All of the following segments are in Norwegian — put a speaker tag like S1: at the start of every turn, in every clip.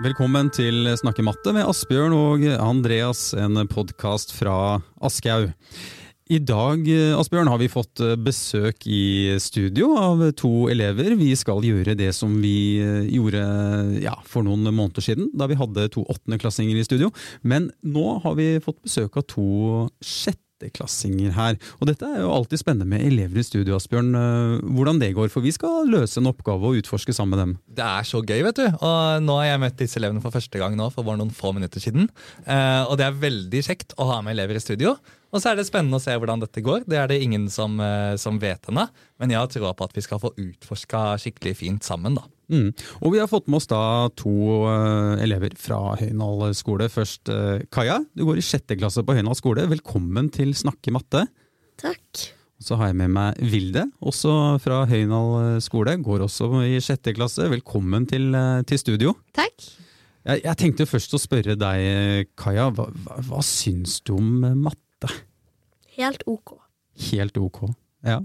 S1: Velkommen til Snakkematte med Asbjørn og Andreas, en podkast fra Aschehoug. I dag Asbjørn, har vi fått besøk i studio av to elever. Vi skal gjøre det som vi eh, gjorde ja, for noen måneder siden, da vi hadde to åttendeklassinger i studio. Men nå har vi fått besøk av to sjetteklassinger her. Og dette er jo alltid spennende med elever i studio, Asbjørn. Eh, Hvordan det går, for vi skal løse en oppgave og utforske sammen med dem.
S2: Det er så gøy, vet du. Og nå har jeg møtt disse elevene for første gang nå, for bare noen få minutter siden. Eh, og det er veldig kjekt å ha med elever i studio. Og så er det spennende å se hvordan dette går. Det er det ingen som, eh, som vet ennå. Men jeg har troa på at vi skal få utforska skikkelig fint sammen, da.
S1: Mm. Og vi har fått med oss da to eh, elever fra Høynal skole. Først eh, Kaja, du går i sjette klasse på Høynal skole. Velkommen til Snakke matte.
S3: Takk.
S1: Og Så har jeg med meg Vilde, også fra Høynal eh, skole. Går også i sjette klasse. Velkommen til, eh, til studio.
S3: Takk.
S1: Jeg, jeg tenkte først å spørre deg, eh, Kaja. Hva, hva, hva syns du om eh, matte?
S3: Helt ok.
S1: Helt ok. Ja.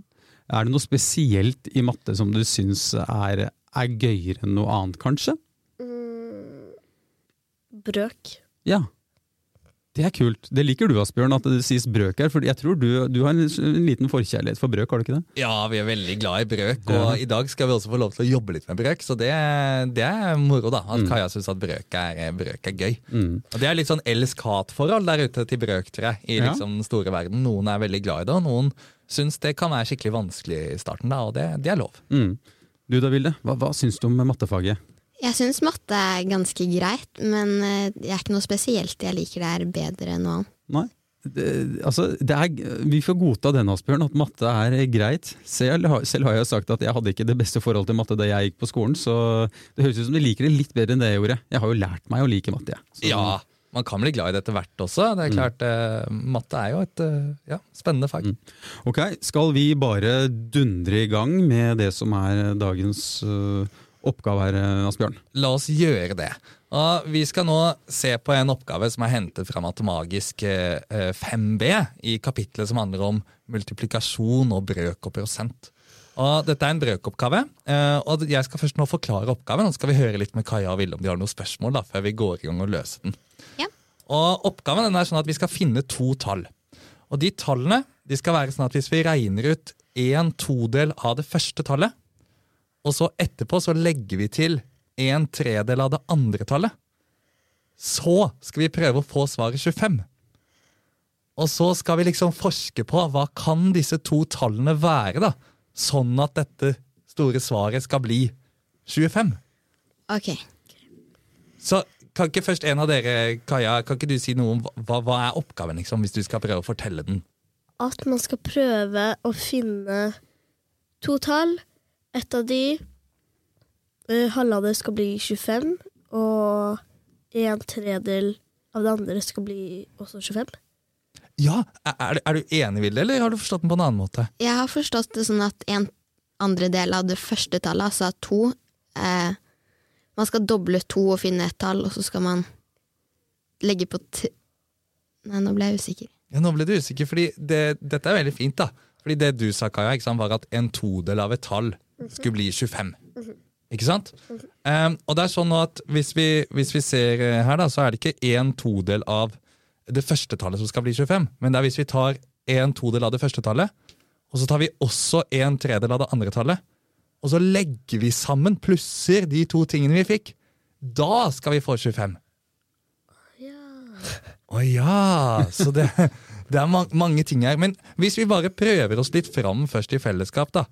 S1: Er det noe spesielt i matte som du syns er, er gøyere enn noe annet, kanskje?
S3: Brøk.
S1: Ja. Det er kult. Det liker du, Asbjørn, at det sies brøk her. For jeg tror du, du har en, en liten forkjærlighet for brøk, har du ikke det?
S2: Ja, vi er veldig glad i brøk, og i dag skal vi også få lov til å jobbe litt med brøk. Så det, det er moro, da. At Kaja syns at brøk er, brøk er gøy. Og det er litt sånn elsk-hat-forhold der ute til brøk, tror jeg, i
S1: Ja.
S2: liksom den store verden. Noen er veldig glad i det, og noen syns det kan være skikkelig vanskelig i starten, da, og det, det er lov.
S1: Mm. Du da, Vilde. Hva, hva syns du om mattefaget?
S4: Jeg syns matte er ganske greit, men eh, det er ikke noe spesielt jeg liker det er bedre enn noe annet.
S1: Nei? Det, altså, det er, vi får godta den, Asbjørn, at matte er greit. Selv, har- selv har jeg sagt at jeg hadde ikke det beste forholdet til matte da jeg gikk på skolen, så det høres ut som du liker det litt bedre enn det jeg gjorde. Jeg har jo lært meg å like matte, jeg. Så-
S2: Ja, man kan bli glad i det etter hvert også. Det er klart, eh, Matte er jo et eh, ja, spennende fag.
S1: Ok, skal vi bare dundre i gang med det som er dagens øh, oppgave her, øh, Asbjørn?
S2: La oss gjøre det. Og vi skal nå se på en oppgave som er hentet fra Matemagisk eh, eh, 5B i kapitlet som handler om multiplikasjon og brøk og prosent. Og dette er en brøkoppgave, eh, og jeg skal først nå forklare oppgaven. Og så skal vi høre litt med Kaja og Ville om de har noen spørsmål da, før vi går i gang og løser den.
S4: Ja.
S2: Og oppgaven den er sånn at vi skal finne to tall. Og de tallene de skal være sånn at hvis vi regner ut en todel av det første tallet, og så etterpå så legger vi til en tredel av det andre tallet, så skal vi prøve å få svaret 25. Og så skal vi liksom forske på hva kan disse to tallene være, da? Sånn at dette store svaret skal bli 25.
S4: Ok.
S2: Så kan ikke først en av dere, Kaja, kan ikke du si noe om hva, hva er oppgaven, liksom, hvis du skal prøve å fortelle den?
S3: At man skal prøve å finne to tall. Et av de eh, halve av det skal bli 25, og en tredel av det andre skal bli også 25.
S2: Ja, er, er, du- er du enig, Vilde, eller har du forstått den på en annen måte?
S4: Jeg har forstått det sånn at en andre del av det første tallet, altså to eh, Man skal doble to og finne et tall, og så skal man legge på t... Nei, nå ble jeg usikker.
S2: Ja, nå ble du usikker, fordi det, dette er veldig fint da. Fordi det du sa, Kaja, ikke sant, var at en todel av et tall skulle bli 25. Ikke sant? Ehm, og det er sånn nå at hvis vi, hvis vi ser eh, her da, så er det ikke en todel av det første tallet som skal bli 25, men det er hvis vi tar en todel av det første tallet, og så tar vi også en tredel av det andre tallet, og så legger vi sammen plusser de to tingene vi fikk, da skal vi få 25. Å ja! Så det, det er ma mange ting her. Men hvis vi bare prøver oss litt fram først i fellesskap, da.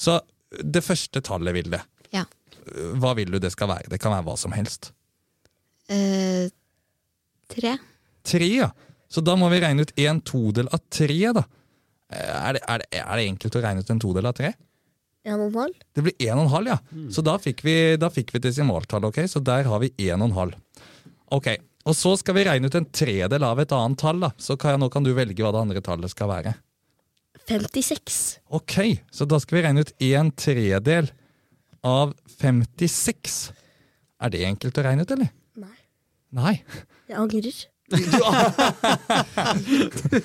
S2: Så det første tallet, Vilde.
S4: Ja.
S2: Hva vil du det skal være? Det kan være hva som helst.
S4: Eh, tre.
S2: Tre, ja. Så da må vi regne ut en todel av tre, da. Eh, Er det, er, det, er det enkelt å regne ut en todel av tre?
S3: En og en halv.
S2: Det blir en og en halv, ja. Så da fikk vi, da fikk vi desimaltall, ok? Så der har vi en og en halv. Ok, og så skal vi regne ut en tredel av et annet tall, da. Så Kaja, nå kan du velge hva det andre tallet skal være.
S3: 56.
S2: Ok, så da skal vi regne ut en tredel av 56. Er det enkelt å regne ut, eller?
S3: Nei,
S2: Nei.
S3: jeg angrer.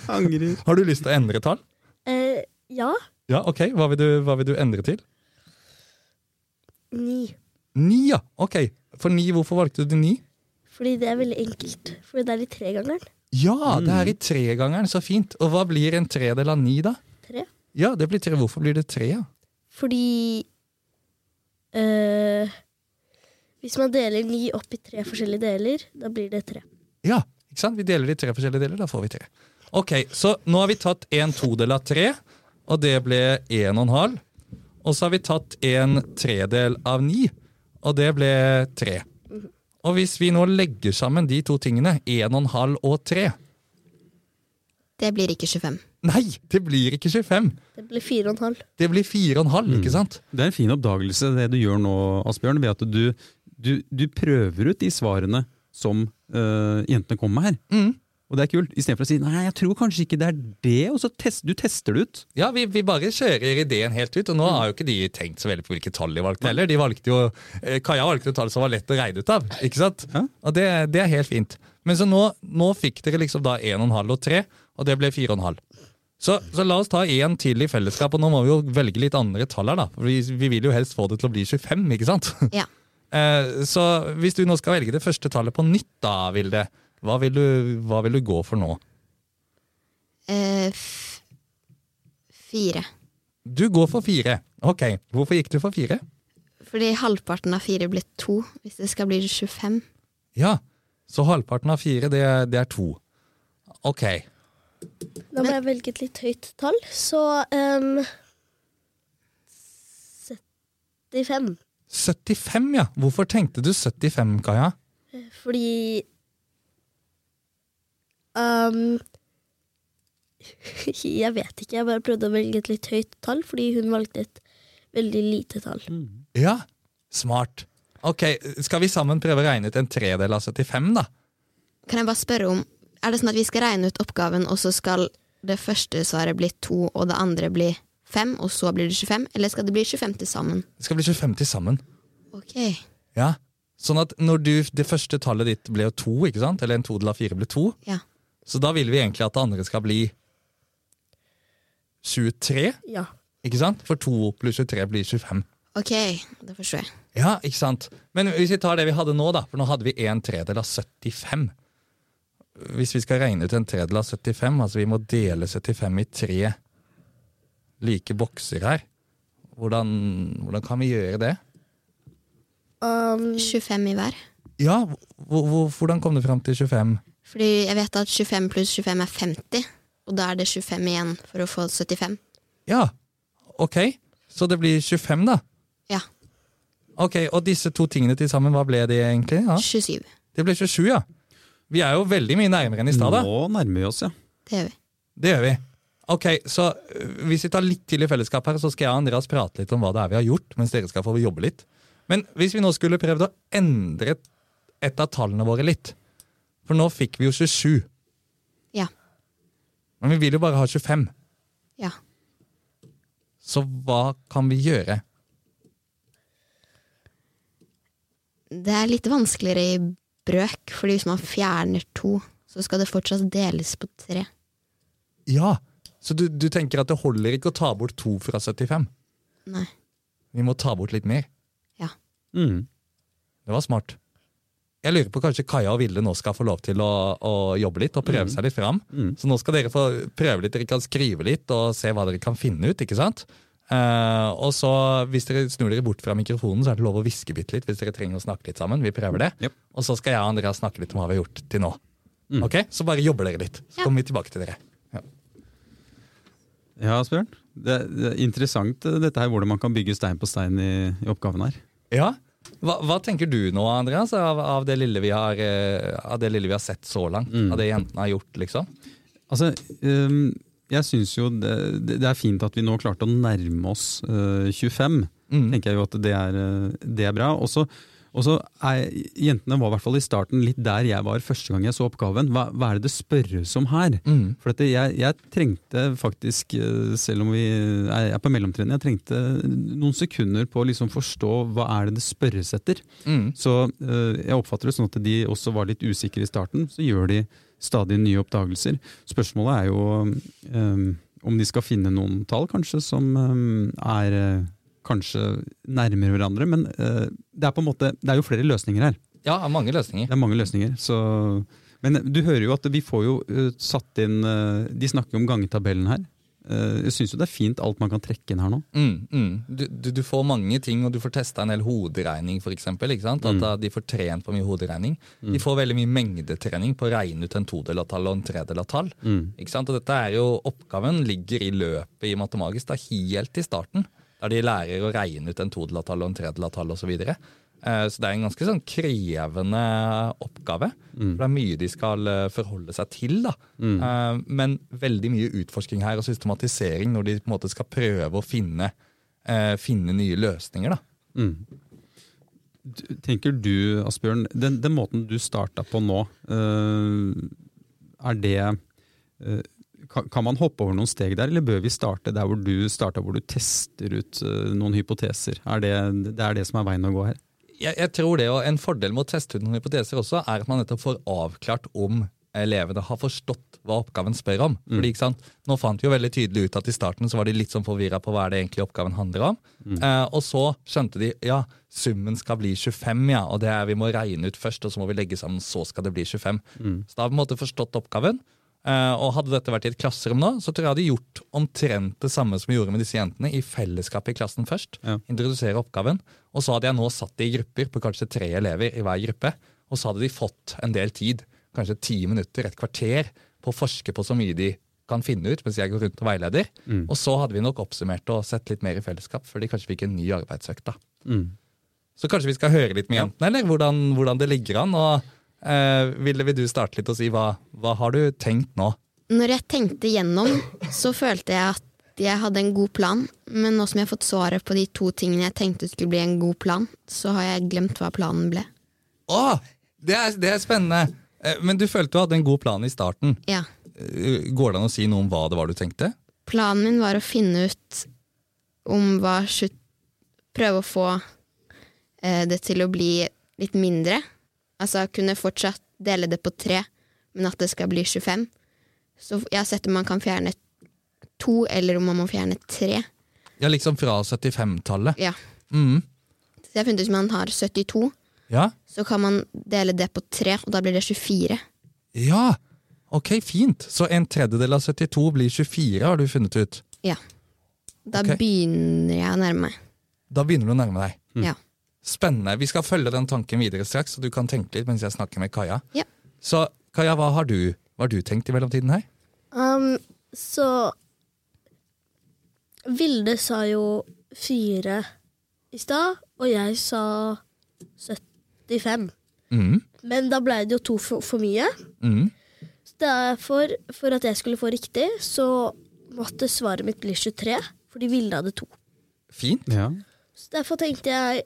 S1: Angrer.
S2: Har du lyst til å endre tall?
S3: Eh, ja.
S2: Ja, ok. Hva vil du, hva vil du endre til?
S3: Ni.
S2: Ni, ja. Ok. For ni, hvorfor valgte du ni?
S3: Fordi det er veldig enkelt. Fordi det er i tregangeren.
S2: Ja, det er i tregangeren, så fint. Og hva blir en tredel av ni, da?
S3: Tre.
S2: Ja, det blir tre. Hvorfor blir det tre? Ja?
S3: Fordi eh, Hvis man deler ni opp i tre forskjellige deler, da blir det tre.
S2: ja, ikke sant? Vi deler det i tre forskjellige deler, da får vi tre. Ok, så nå har vi tatt en todel av tre, og det ble en og en halv. Og så har vi tatt en tredel av ni, og det ble tre. Og hvis vi nå legger sammen de to tingene, en og en halv og tre,
S4: Det blir ikke 25.
S2: nei, det blir ikke 25,
S3: Det blir fire og en halv.
S2: det blir fire og en halv, ikke sant?
S1: Det er en fin oppdagelse, det du gjør nå, Asbjørn, ved at du, du, du prøver ut de svarene som eh, jentene kommer med her.
S2: Mm.
S1: Og det er kult. Istedenfor å si 'nei, jeg tror kanskje ikke det er det', og så test, du tester det ut.
S2: Ja, vi, vi bare kjører ideen helt ut, og nå har jo ikke de tenkt så veldig på hvilke tall de valgte Mm. heller. De valgte jo, eh, Kaja valgte jo tall som var lett å regne ut av, ikke sant?
S1: Ja.
S2: Og det, det er helt fint. Men så nå, nå fikk dere liksom da 1,5 og 3, og det ble 4,5. Så, så la oss ta én til i fellesskap, og nå må vi jo velge litt andre tall her, da. For vi, vi vil jo helst få det til å bli 25, ikke sant?
S4: Ja.
S2: Eh, Så hvis du nå skal velge det første tallet på nytt, da, Vilde, hva vil du, hva vil du gå for nå?
S4: Eh, f fire.
S2: Du går for fire. Ok, hvorfor gikk du for fire?
S4: Fordi halvparten av fire blir to, hvis det skal bli 25.
S2: Ja, så halvparten av fire, det, er- det er to. Ok.
S3: Da må jeg velge et litt høyt tall, så um, 75.
S2: 75, ja. Hvorfor tenkte du 75, Kaja?
S3: Fordi um, Jeg vet ikke, jeg bare prøvde å velge et litt høyt tall, fordi hun valgte et veldig lite tall.
S2: Ja. Smart. Ok, skal vi sammen prøve å regne ut en tredel av 75, da?
S4: Kan jeg bare spørre om Er det sånn at vi skal regne ut oppgaven, og så skal det første svaret bli to, og det andre bli fem, og så blir det 25? Eller skal det bli 25 til sammen?
S2: Det skal bli 25 til sammen.
S4: Ok.
S2: Ja. Sånn at når du, det første tallet ditt ble jo to, ikke sant? Eller en todel av fire ble to.
S4: Ja.
S2: Så da vil vi egentlig at det andre skal bli 23,
S3: Ja.
S2: ikke sant? For to pluss 23 blir 25.
S4: Ok, det forstår jeg.
S2: Ja, ikke sant? Men hvis vi tar det vi hadde nå, da, for nå hadde vi en tredel av 75. Hvis vi skal regne ut en tredel av 75, altså vi må dele 75 i tre like bokser her, hvordan, hvordan kan vi gjøre det?
S3: Um,
S4: 25 i hver.
S2: Ja, hvor, hvor, hvordan kom du fram til 25?
S4: Fordi jeg vet at 25 pluss 25 er 50, og da er det 25 igjen for å få 75.
S2: Ja, ok, så det blir 25 da.
S4: Ja.
S2: Ok, og disse to tingene til sammen, hva ble det egentlig? Ja,
S4: 27.
S2: det ble 27, ja. Vi er jo veldig mye nærmere enn i stad da.
S1: Nå nærmer vi oss, ja.
S4: Det gjør vi.
S2: Det gjør vi. Ok, så øh, Hvis vi tar litt til i fellesskap, her, så skal jeg og Andreas prate litt om hva det er vi har gjort. mens dere skal få jobbe litt. Men hvis vi nå skulle prøvd å endre et av tallene våre litt For nå fikk vi jo 27,
S4: Ja.
S2: men vi vil jo bare ha 25.
S4: Ja.
S2: Så hva kan vi gjøre?
S4: Det er litt vanskeligere i brøk, fordi hvis man fjerner to, så skal det fortsatt deles på tre.
S2: Ja, Så du, du tenker at det holder ikke å ta bort 2 fra 75?
S4: Nei.
S2: Vi må ta bort litt mer.
S1: Mm.
S2: Det var smart. Jeg lurer på kanskje Kaja og Vilde nå skal få lov til å, å jobbe litt og prøve seg litt fram.
S1: Mm.
S2: Så nå skal dere få prøve litt, dere kan skrive litt og se hva dere kan finne ut. ikke sant? Eh, og så Hvis dere snur dere bort fra mikrofonen, så er det lov å hviske bitte litt. hvis dere trenger å snakke litt sammen. Vi prøver det.
S1: Jep. Mm.
S2: Og så skal jeg og Andreas snakke litt om hva vi har gjort til nå. Ok? Så bare jobber dere litt. Så
S4: Ja.
S2: kommer vi tilbake til dere. Ja.
S1: Ja, Asbjørn. Det, det er interessant eh, dette her, hvordan man kan bygge stein på stein i, i oppgaven her.
S2: Ja. Hva, hva tenker du nå, Andreas, av, av, det lille vi har, eh, av det lille vi har sett så langt?
S1: Mm.
S2: Av det jentene har gjort, liksom?
S1: Altså, øhm, jeg syns jo det, det det er fint at vi nå klarte å nærme oss øh, 25.
S2: Mm.
S1: tenker jeg jo at det er, øh, det er bra. Og så og så er, Jentene var i hvert fall i starten litt der jeg var første gang jeg så oppgaven. Hva, hva er det det spørres om her?
S2: Mm.
S1: For dette, jeg, jeg trengte faktisk, øh, selv om vi er er på mellomtrinnet, jeg trengte noen sekunder på å liksom forstå hva er det det spørres etter.
S2: Mm.
S1: Så øh, jeg oppfatter det sånn at de også var litt usikre i starten. Så gjør de stadig nye oppdagelser. Spørsmålet er jo øhm, om de skal finne noen ehm, tall kanskje som øhm, er øh, kanskje nærmere eh, hverandre, men øh, det er på en måte, det er jo flere løsninger her.
S2: Ja, mange løsninger.
S1: Det er mange løsninger. Så, men eh, du hører jo at vi får jo eh, satt inn eh, De snakker jo om gangetabellen her. Eh, Jeg syns jo det er fint alt man kan trekke inn her nå.
S2: Mm, mm. Du, du, du får mange ting, og du får testa en del hoderegning for eksempel, ikke sant? At da De får trent på mye hoderegning. De får veldig mye mengdetrening på å regne ut en todel av tall og en tredel av tall.
S1: Mm.
S2: Ikke sant? Og dette er jo, oppgaven ligger i løpet i matematisk, da, helt i starten. Der de lærer å regne ut en todel av tall og en tredel av tall osv. Så, videre. Eh, så det er en ganske sånn krevende oppgave. For det er mye de skal eh, forholde seg til. da. Eh, Men veldig mye utforsking her og systematisering når de på en måte skal prøve å finne, eh, finne nye løsninger. da.
S1: Mm. Du- Tenker du, Asbjørn, den, den måten du starta på nå, eh, er det eh, kan, kan man hoppe over noen steg der, eller bør vi starte der hvor du starta, hvor du tester ut eh, noen hypoteser? Er det, det er det som er veien å gå her?
S2: jeg, jeg tror det, og En fordel med å teste ut noen hypoteser også, er at man nettopp får avklart om elevene har forstått hva oppgaven spør om. Fordi, ikke sant? Nå fant vi jo veldig tydelig ut at i starten så var de litt sånn forvirra på hva er det egentlig oppgaven handler om. Eh, og så skjønte de ja, summen skal bli 25, ja, og det er vi må regne ut først, og så må vi legge sammen, så skal det bli 25. Så da har vi på en måte forstått oppgaven. Eh, og Hadde dette vært i et klasserom nå, så tror jeg jeg hadde gjort omtrent det samme som vi gjorde med disse jentene, i fellesskap i klassen først.
S1: Ja.
S2: Introdusere oppgaven. Og så hadde jeg nå satt de i grupper på kanskje tre elever i hver gruppe. Og så hadde de fått en del tid, kanskje ti minutter, et kvarter, på å forske på så mye de kan finne ut, mens jeg går rundt og veileder. Og så hadde vi nok oppsummert og sett litt mer i fellesskap, før de kanskje fikk en ny arbeidsøkt. da. Så kanskje vi skal høre litt med jentene, eller hvordan, hvordan det ligger an. og eh, Ville vil du starte litt og si hva, hva har du tenkt nå?
S4: Når jeg tenkte gjennom, så følte jeg at jeg hadde en god plan, men nå som jeg har fått svaret på de to tingene jeg tenkte skulle bli en god plan, så har jeg glemt hva planen ble.
S2: Å, det er, det er spennende! Eh, Men du følte du hadde en god plan i starten.
S4: Ja.
S2: Eh, Går det an å si noe om hva det var du tenkte?
S4: Planen min var å finne ut om hva tju- Prøve å få eh, det til å bli litt mindre. Altså kunne fortsatt dele det på tre, men at det skal bli 25. Så jeg har sett om man kan fjerne to, eller om man må fjerne tre.
S2: Ja, liksom fra 75-tallet.
S4: Ja.
S2: Mm.
S4: Så jeg har funnet ut hvis man har 72,
S2: Ja.
S4: så kan man dele det på tre, og da blir det 24.
S2: ja! Ok, fint. Så en tredjedel av 72 blir 24, har du funnet ut.
S4: Ja. Da
S2: Ok.
S4: begynner jeg å nærme meg.
S2: Da begynner du å nærme deg.
S4: Ja.
S2: Spennende. Vi skal følge den tanken videre straks, så du kan tenke litt mens jeg snakker med Kaja.
S4: Ja.
S2: Så Kaja, hva har du, hva har du tenkt i mellomtiden her?
S3: Um, så Vilde sa jo fire i stad, og jeg sa 75.
S2: Mm.
S3: Men da ble det jo to for, for mye.
S2: Mm.
S3: Så derfor, for at jeg skulle få riktig, så måtte svaret mitt bli 23, fordi Vilde hadde to.
S2: Fint.
S1: Ja.
S3: Så derfor tenkte jeg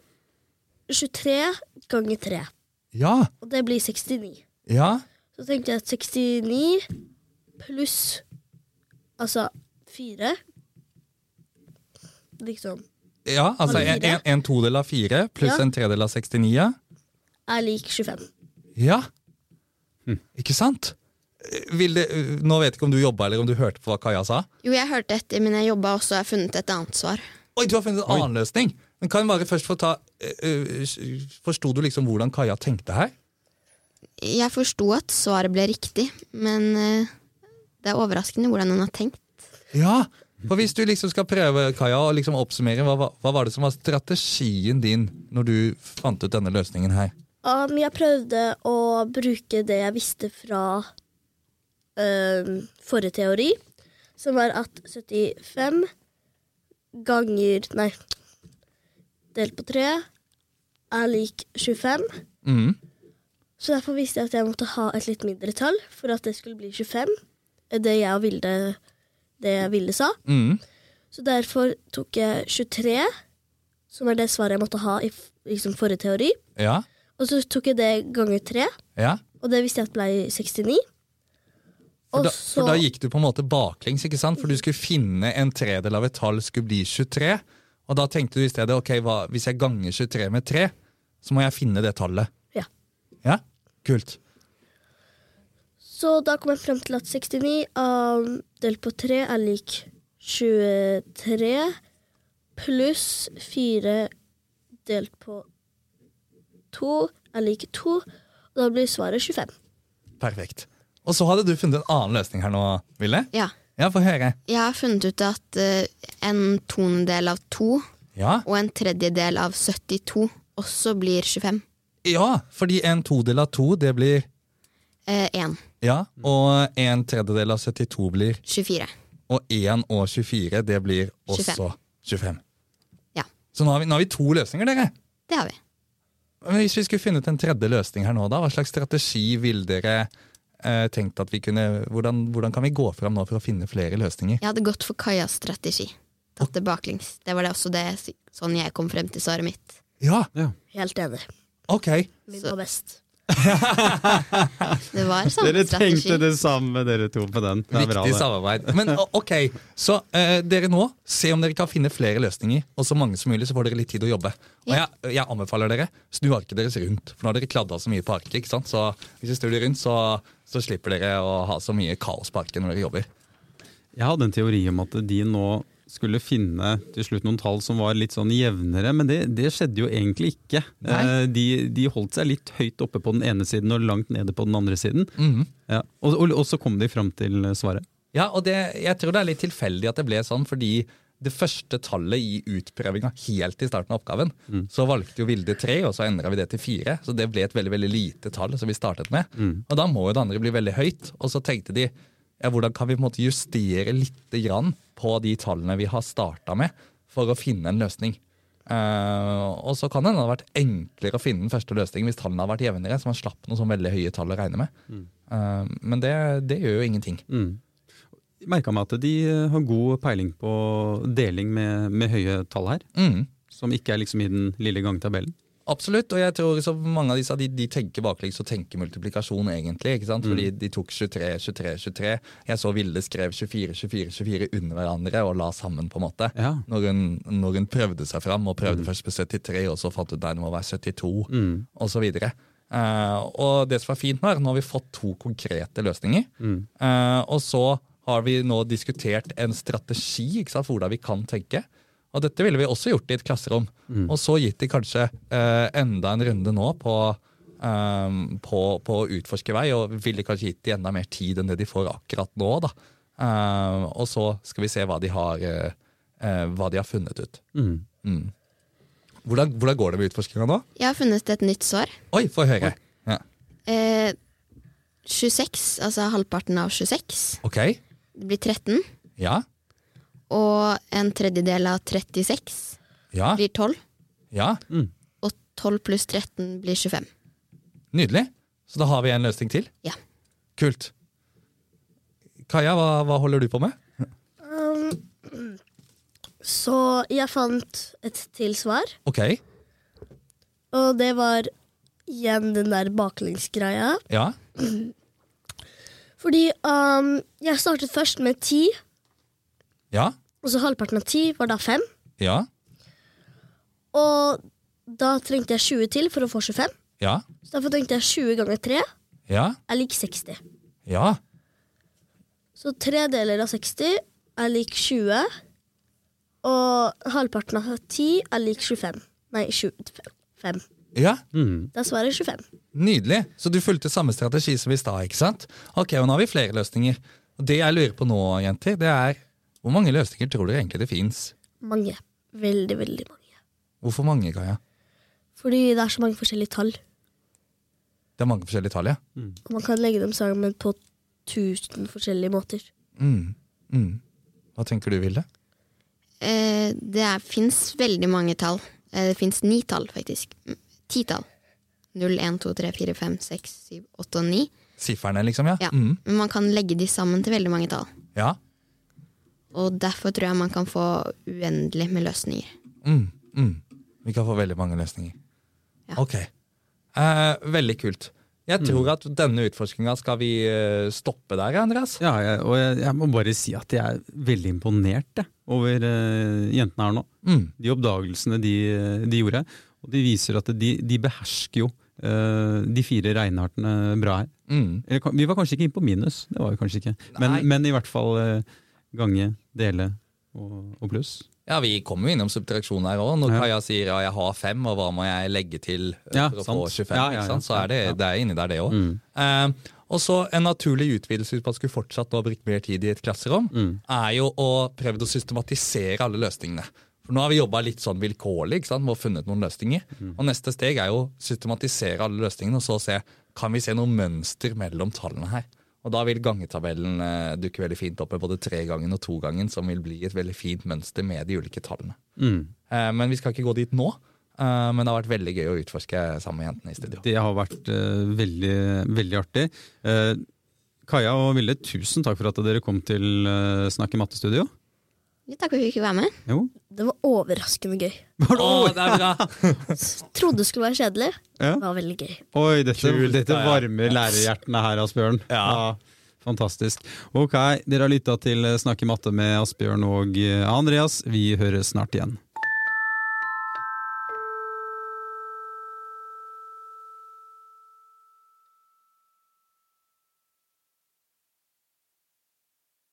S3: 23 ganger 3,
S2: Ja.
S3: og det blir 69.
S2: Ja.
S3: Så tenkte jeg at 69 pluss altså 4 Liksom
S2: Ja, altså
S3: Var det
S2: en,
S3: fire?
S2: en, en todel av fire pluss
S3: Ja.
S2: en tredel av 69. Ja.
S3: er lik 25.
S2: ja. Ikke sant? Eh, Vil det, eh, nå vet jeg ikke om du jobba eller om du hørte på hva Kaja sa.
S4: Jo, jeg hørte etter, men jeg jobba også og har funnet et annet svar.
S2: Oi, du har funnet en annen løsning! Men kan vi bare først få ta eh, eh, Forsto du liksom hvordan Kaja tenkte her?
S4: Jeg forsto at svaret ble riktig, men eh, det er overraskende hvordan hun har tenkt.
S2: Ja, for hvis du liksom skal prøve Kaja, å liksom oppsummere, hva, hva- hva var det som var strategien din når du fant ut denne løsningen her?
S3: Um, jeg prøvde å bruke det jeg visste fra um, forrige teori, som var at 75 ganger Nei, delt på 3 er lik 25.
S2: Mm.
S3: Så derfor visste jeg at jeg måtte ha et litt mindre tall for at det skulle bli 25. Det jeg og Vilde, det jeg Vilde sa.
S2: Mm.
S3: Så derfor tok jeg 23, som er det svaret jeg måtte ha i f- liksom forrige teori.
S2: Ja.
S3: Og så tok jeg det ganger 3,
S2: ja.
S3: og det visste jeg at ble 69.
S2: For
S3: Og
S2: da,
S3: så
S2: for da gikk du på en måte baklengs, ikke sant? For du skulle finne en tredel av et tall skulle bli 23. Og da tenkte du i stedet ok, hva, hvis jeg ganger 23 med 3, så må jeg finne det tallet.
S3: Ja.
S2: Ja? Kult.
S3: Så da kom jeg frem til at 69 um, delt på 3 er lik 23 pluss 4 delt på 2 er lik 2, og da blir svaret 25.
S2: Perfekt. Og så hadde du funnet en annen løsning her nå, Ville.
S4: Ja.
S2: Ja, få høre.
S4: Jeg har funnet ut at eh, en tonedel av 2
S2: Ja.
S4: og en tredjedel av 72 også blir 25.
S2: ja, fordi en todel av to, det blir
S4: Eh, 1.
S2: Ja, og en tredjedel av 72 blir
S4: 24.
S2: Og 1 og 24, det blir også 25.
S4: Ja.
S2: Så nå har, vi, nå har vi to løsninger, dere.
S4: Det har vi.
S2: Men Hvis vi skulle funnet en tredje løsning her nå, da, hva slags strategi ville dere eh, tenkt at vi kunne hvordan, hvordan kan vi gå fram nå for å finne flere løsninger?
S4: Jeg hadde gått for Kajas strategi. Tatt det baklengs. Det var det også det, sånn jeg kom frem til svaret mitt.
S2: Ja,
S3: Helt enig.
S2: ok.
S3: Min
S4: Så-
S3: var best.
S4: Det var samme
S1: Dere
S4: strategi.
S1: tenkte det samme, dere to, på den. Det er bra,
S2: Viktig
S1: det.
S2: samarbeid. Men o- ok, Så eh, dere nå, se om dere kan finne flere løsninger, og så mange som mulig, så får dere litt tid å jobbe. Og jeg, jeg anbefaler dere, snu arket deres rundt, for nå har dere kladda så mye på arket. ikke sant? Så hvis dere snur det rundt, så, så slipper dere å ha så mye kaos på arket når dere jobber.
S1: Jeg hadde en teori om at de nå skulle finne til slutt noen tall som var litt sånn jevnere, men det, det skjedde jo egentlig ikke.
S2: Nei.
S1: Eh, De, de holdt seg litt høyt oppe på den ene siden og langt nede på den andre siden.
S2: Mhm.
S1: Ja. Og, og, og så kom de fram til svaret.
S2: Ja, og det, jeg tror det er litt tilfeldig at det ble sånn, fordi det første tallet i utprøvinga helt i starten av oppgaven, så valgte jo Vilde tre, og så endra vi det til fire. Så det ble et veldig veldig lite tall som vi startet med. Og da må jo det andre bli veldig høyt. Og så tenkte de ja, hvordan kan vi på en måte justere litt grann på de tallene vi har starta med, for å finne en løsning. Eh, og så kan det hende det ha vært enklere å finne den første løsningen hvis tallene har vært jevnere, så man slapp noen sånn veldig høye tall å regne med. Eh, men det, det gjør jo ingenting.
S1: Merka meg at de eh, har god peiling på deling med, med høye tall her,
S2: Mm.
S1: som ikke er liksom i den lille gangtabellen.
S2: Absolutt, og jeg tror så mange av disse de, de tenker baklengs og tenker multiplikasjon, egentlig. ikke sant? Fordi de tok 23, 23, 23. Jeg så Vilde skrev 24, 24, 24 under hverandre og la sammen, på en måte.
S1: Ja.
S2: Når, hun, når hun prøvde seg fram, og prøvde først på 73, og så fant hun nei, det må være 72, og så videre. Eh, og det som er fint nå, er at nå har vi fått to konkrete løsninger. Eh, og så har vi nå diskutert en strategi ikke sant, for hvordan vi kan tenke. Og dette ville vi også gjort i et klasserom. Og så gitt de kanskje eh, enda en runde nå på, eh, på, på å utforske vei, og ville kanskje gitt de enda mer tid enn det de får akkurat nå. Da. Eh, og så skal vi se hva de har, eh, eh, hva de har funnet ut.
S1: Mm.
S2: Mm. Hvordan, hvordan går det med utforskinga nå?
S4: Jeg har funnet et nytt svar.
S2: Oi, få høre! Ja.
S4: Eh, 26, altså halvparten av 26,
S2: Ok,
S4: det blir 13.
S2: ja,
S4: Og en tredjedel av 36
S2: ja,
S4: blir 12.
S2: ja.
S4: Og 12 pluss 13 blir 25.
S2: Nydelig. Så da har vi en løsning til.
S4: Ja.
S2: Kult. Kaja, hva, hva holder du på med?
S3: Um, så jeg fant et til svar,
S2: Ok,
S3: og det var igjen den der baklengsgreia.
S2: ja,
S3: Fordi um, jeg startet først med 10,
S2: ja,
S3: og så halvparten av 10 var da 5.
S2: ja,
S3: Og da trengte jeg 20 til for å få 25.
S2: ja,
S3: Så derfor tenkte jeg 20 ganger 3 er
S2: ja,
S3: lik 60.
S2: ja.
S3: Så tre deler av 60 er lik 20. Og halvparten av 10 er lik 25. Nei, 25.
S2: Ja,
S3: Da er svaret 25.
S2: Nydelig. Så du fulgte samme strategi som i stad, ikke sant? Ok, og nå har vi flere løsninger. Og det jeg lurer på nå, jenter, det er hvor mange løsninger tror dere egentlig det fins?
S3: Mange. Veldig, veldig mange.
S2: Hvorfor mange, Kaja?
S3: Fordi det er så mange forskjellige tall.
S2: Det er mange forskjellige tall, ja.
S3: Og man kan legge dem sammen på 1000 forskjellige måter.
S2: Mm. Mm. Hva tenker du, Vilde?
S4: Eh, det fins veldig mange tall. Eh, det fins ni tall, faktisk. Mm, Ti tall. 0, 1, 2, 3, 4, 5, 6, 7, 8 og 9.
S2: Sifferne, liksom? Ja.
S4: Ja.
S2: Mm.
S4: Men man kan legge de sammen til veldig mange tall.
S2: ja.
S4: Og derfor tror jeg man kan få uendelig med løsninger.
S2: Mm, mm. Vi kan få veldig mange løsninger.
S4: Ja.
S2: Ok. Eh, veldig kult. Jeg tror
S1: Mm.
S2: at denne utforskinga skal vi eh, stoppe der, Andreas.
S1: Ja, jeg, og jeg, jeg må bare si at jeg er veldig imponert jeg, over eh, jentene her nå.
S2: Mm.
S1: De oppdagelsene de, eh, de gjorde. Og de viser at de, de behersker jo eh, de fire regneartene bra her.
S2: Mm.
S1: Eller, kan- vi var kanskje ikke inne på minus, det var vi kanskje ikke. Men,
S2: Nei.
S1: men i hvert fall eh, gange, dele og, og pluss.
S2: Ja, Vi kommer jo innom subtraksjon her òg. Når
S1: Ja.
S2: Kaja sier ja, jeg har fem, og hva må jeg legge til eh,
S1: Ja,
S2: for å
S1: sant.
S2: få 25,
S1: Ja, ja,
S2: ikke
S1: ja.
S2: sant? så er det, det er inni der, det òg. Eh, og så en naturlig utvidelse hvis man skulle fortsatt å ha brukt mer tid i et klasserom, er jo å prøve å systematisere alle løsningene. For Nå har vi jobba litt sånn vilkårlig ikke sant? og funnet noen løsninger. Og neste steg er jo å systematisere alle løsningene og så se kan vi se noe mønster mellom tallene her. Og Da vil gangetabellen eh, dukke veldig fint opp med både tregangen og togangen, som vil bli et veldig fint mønster med de ulike tallene.
S1: Mm.
S2: Eh, men vi skal ikke gå dit nå. eh, men det har vært veldig gøy å utforske sammen med jentene i studio.
S1: Det har vært eh, veldig, veldig artig. Eh, Kaja og Ville, tusen takk for at dere kom til uh, Snakk i mattestudio.
S4: Jo, takk for at vi fikk være med.
S1: Jo.
S3: Det var overraskende gøy.
S2: Å, det er bra!
S3: Trodde det skulle være kjedelig.
S1: Ja.
S3: Det var veldig gøy.
S1: Oi, dette,
S2: Kult,
S1: dette
S2: Kaja.
S1: varmer lærerhjertene her, Asbjørn.
S2: Ja.
S1: Fantastisk. Ok, dere har lytta til Snakk i matte med Asbjørn og eh, Andreas. Vi høres snart igjen.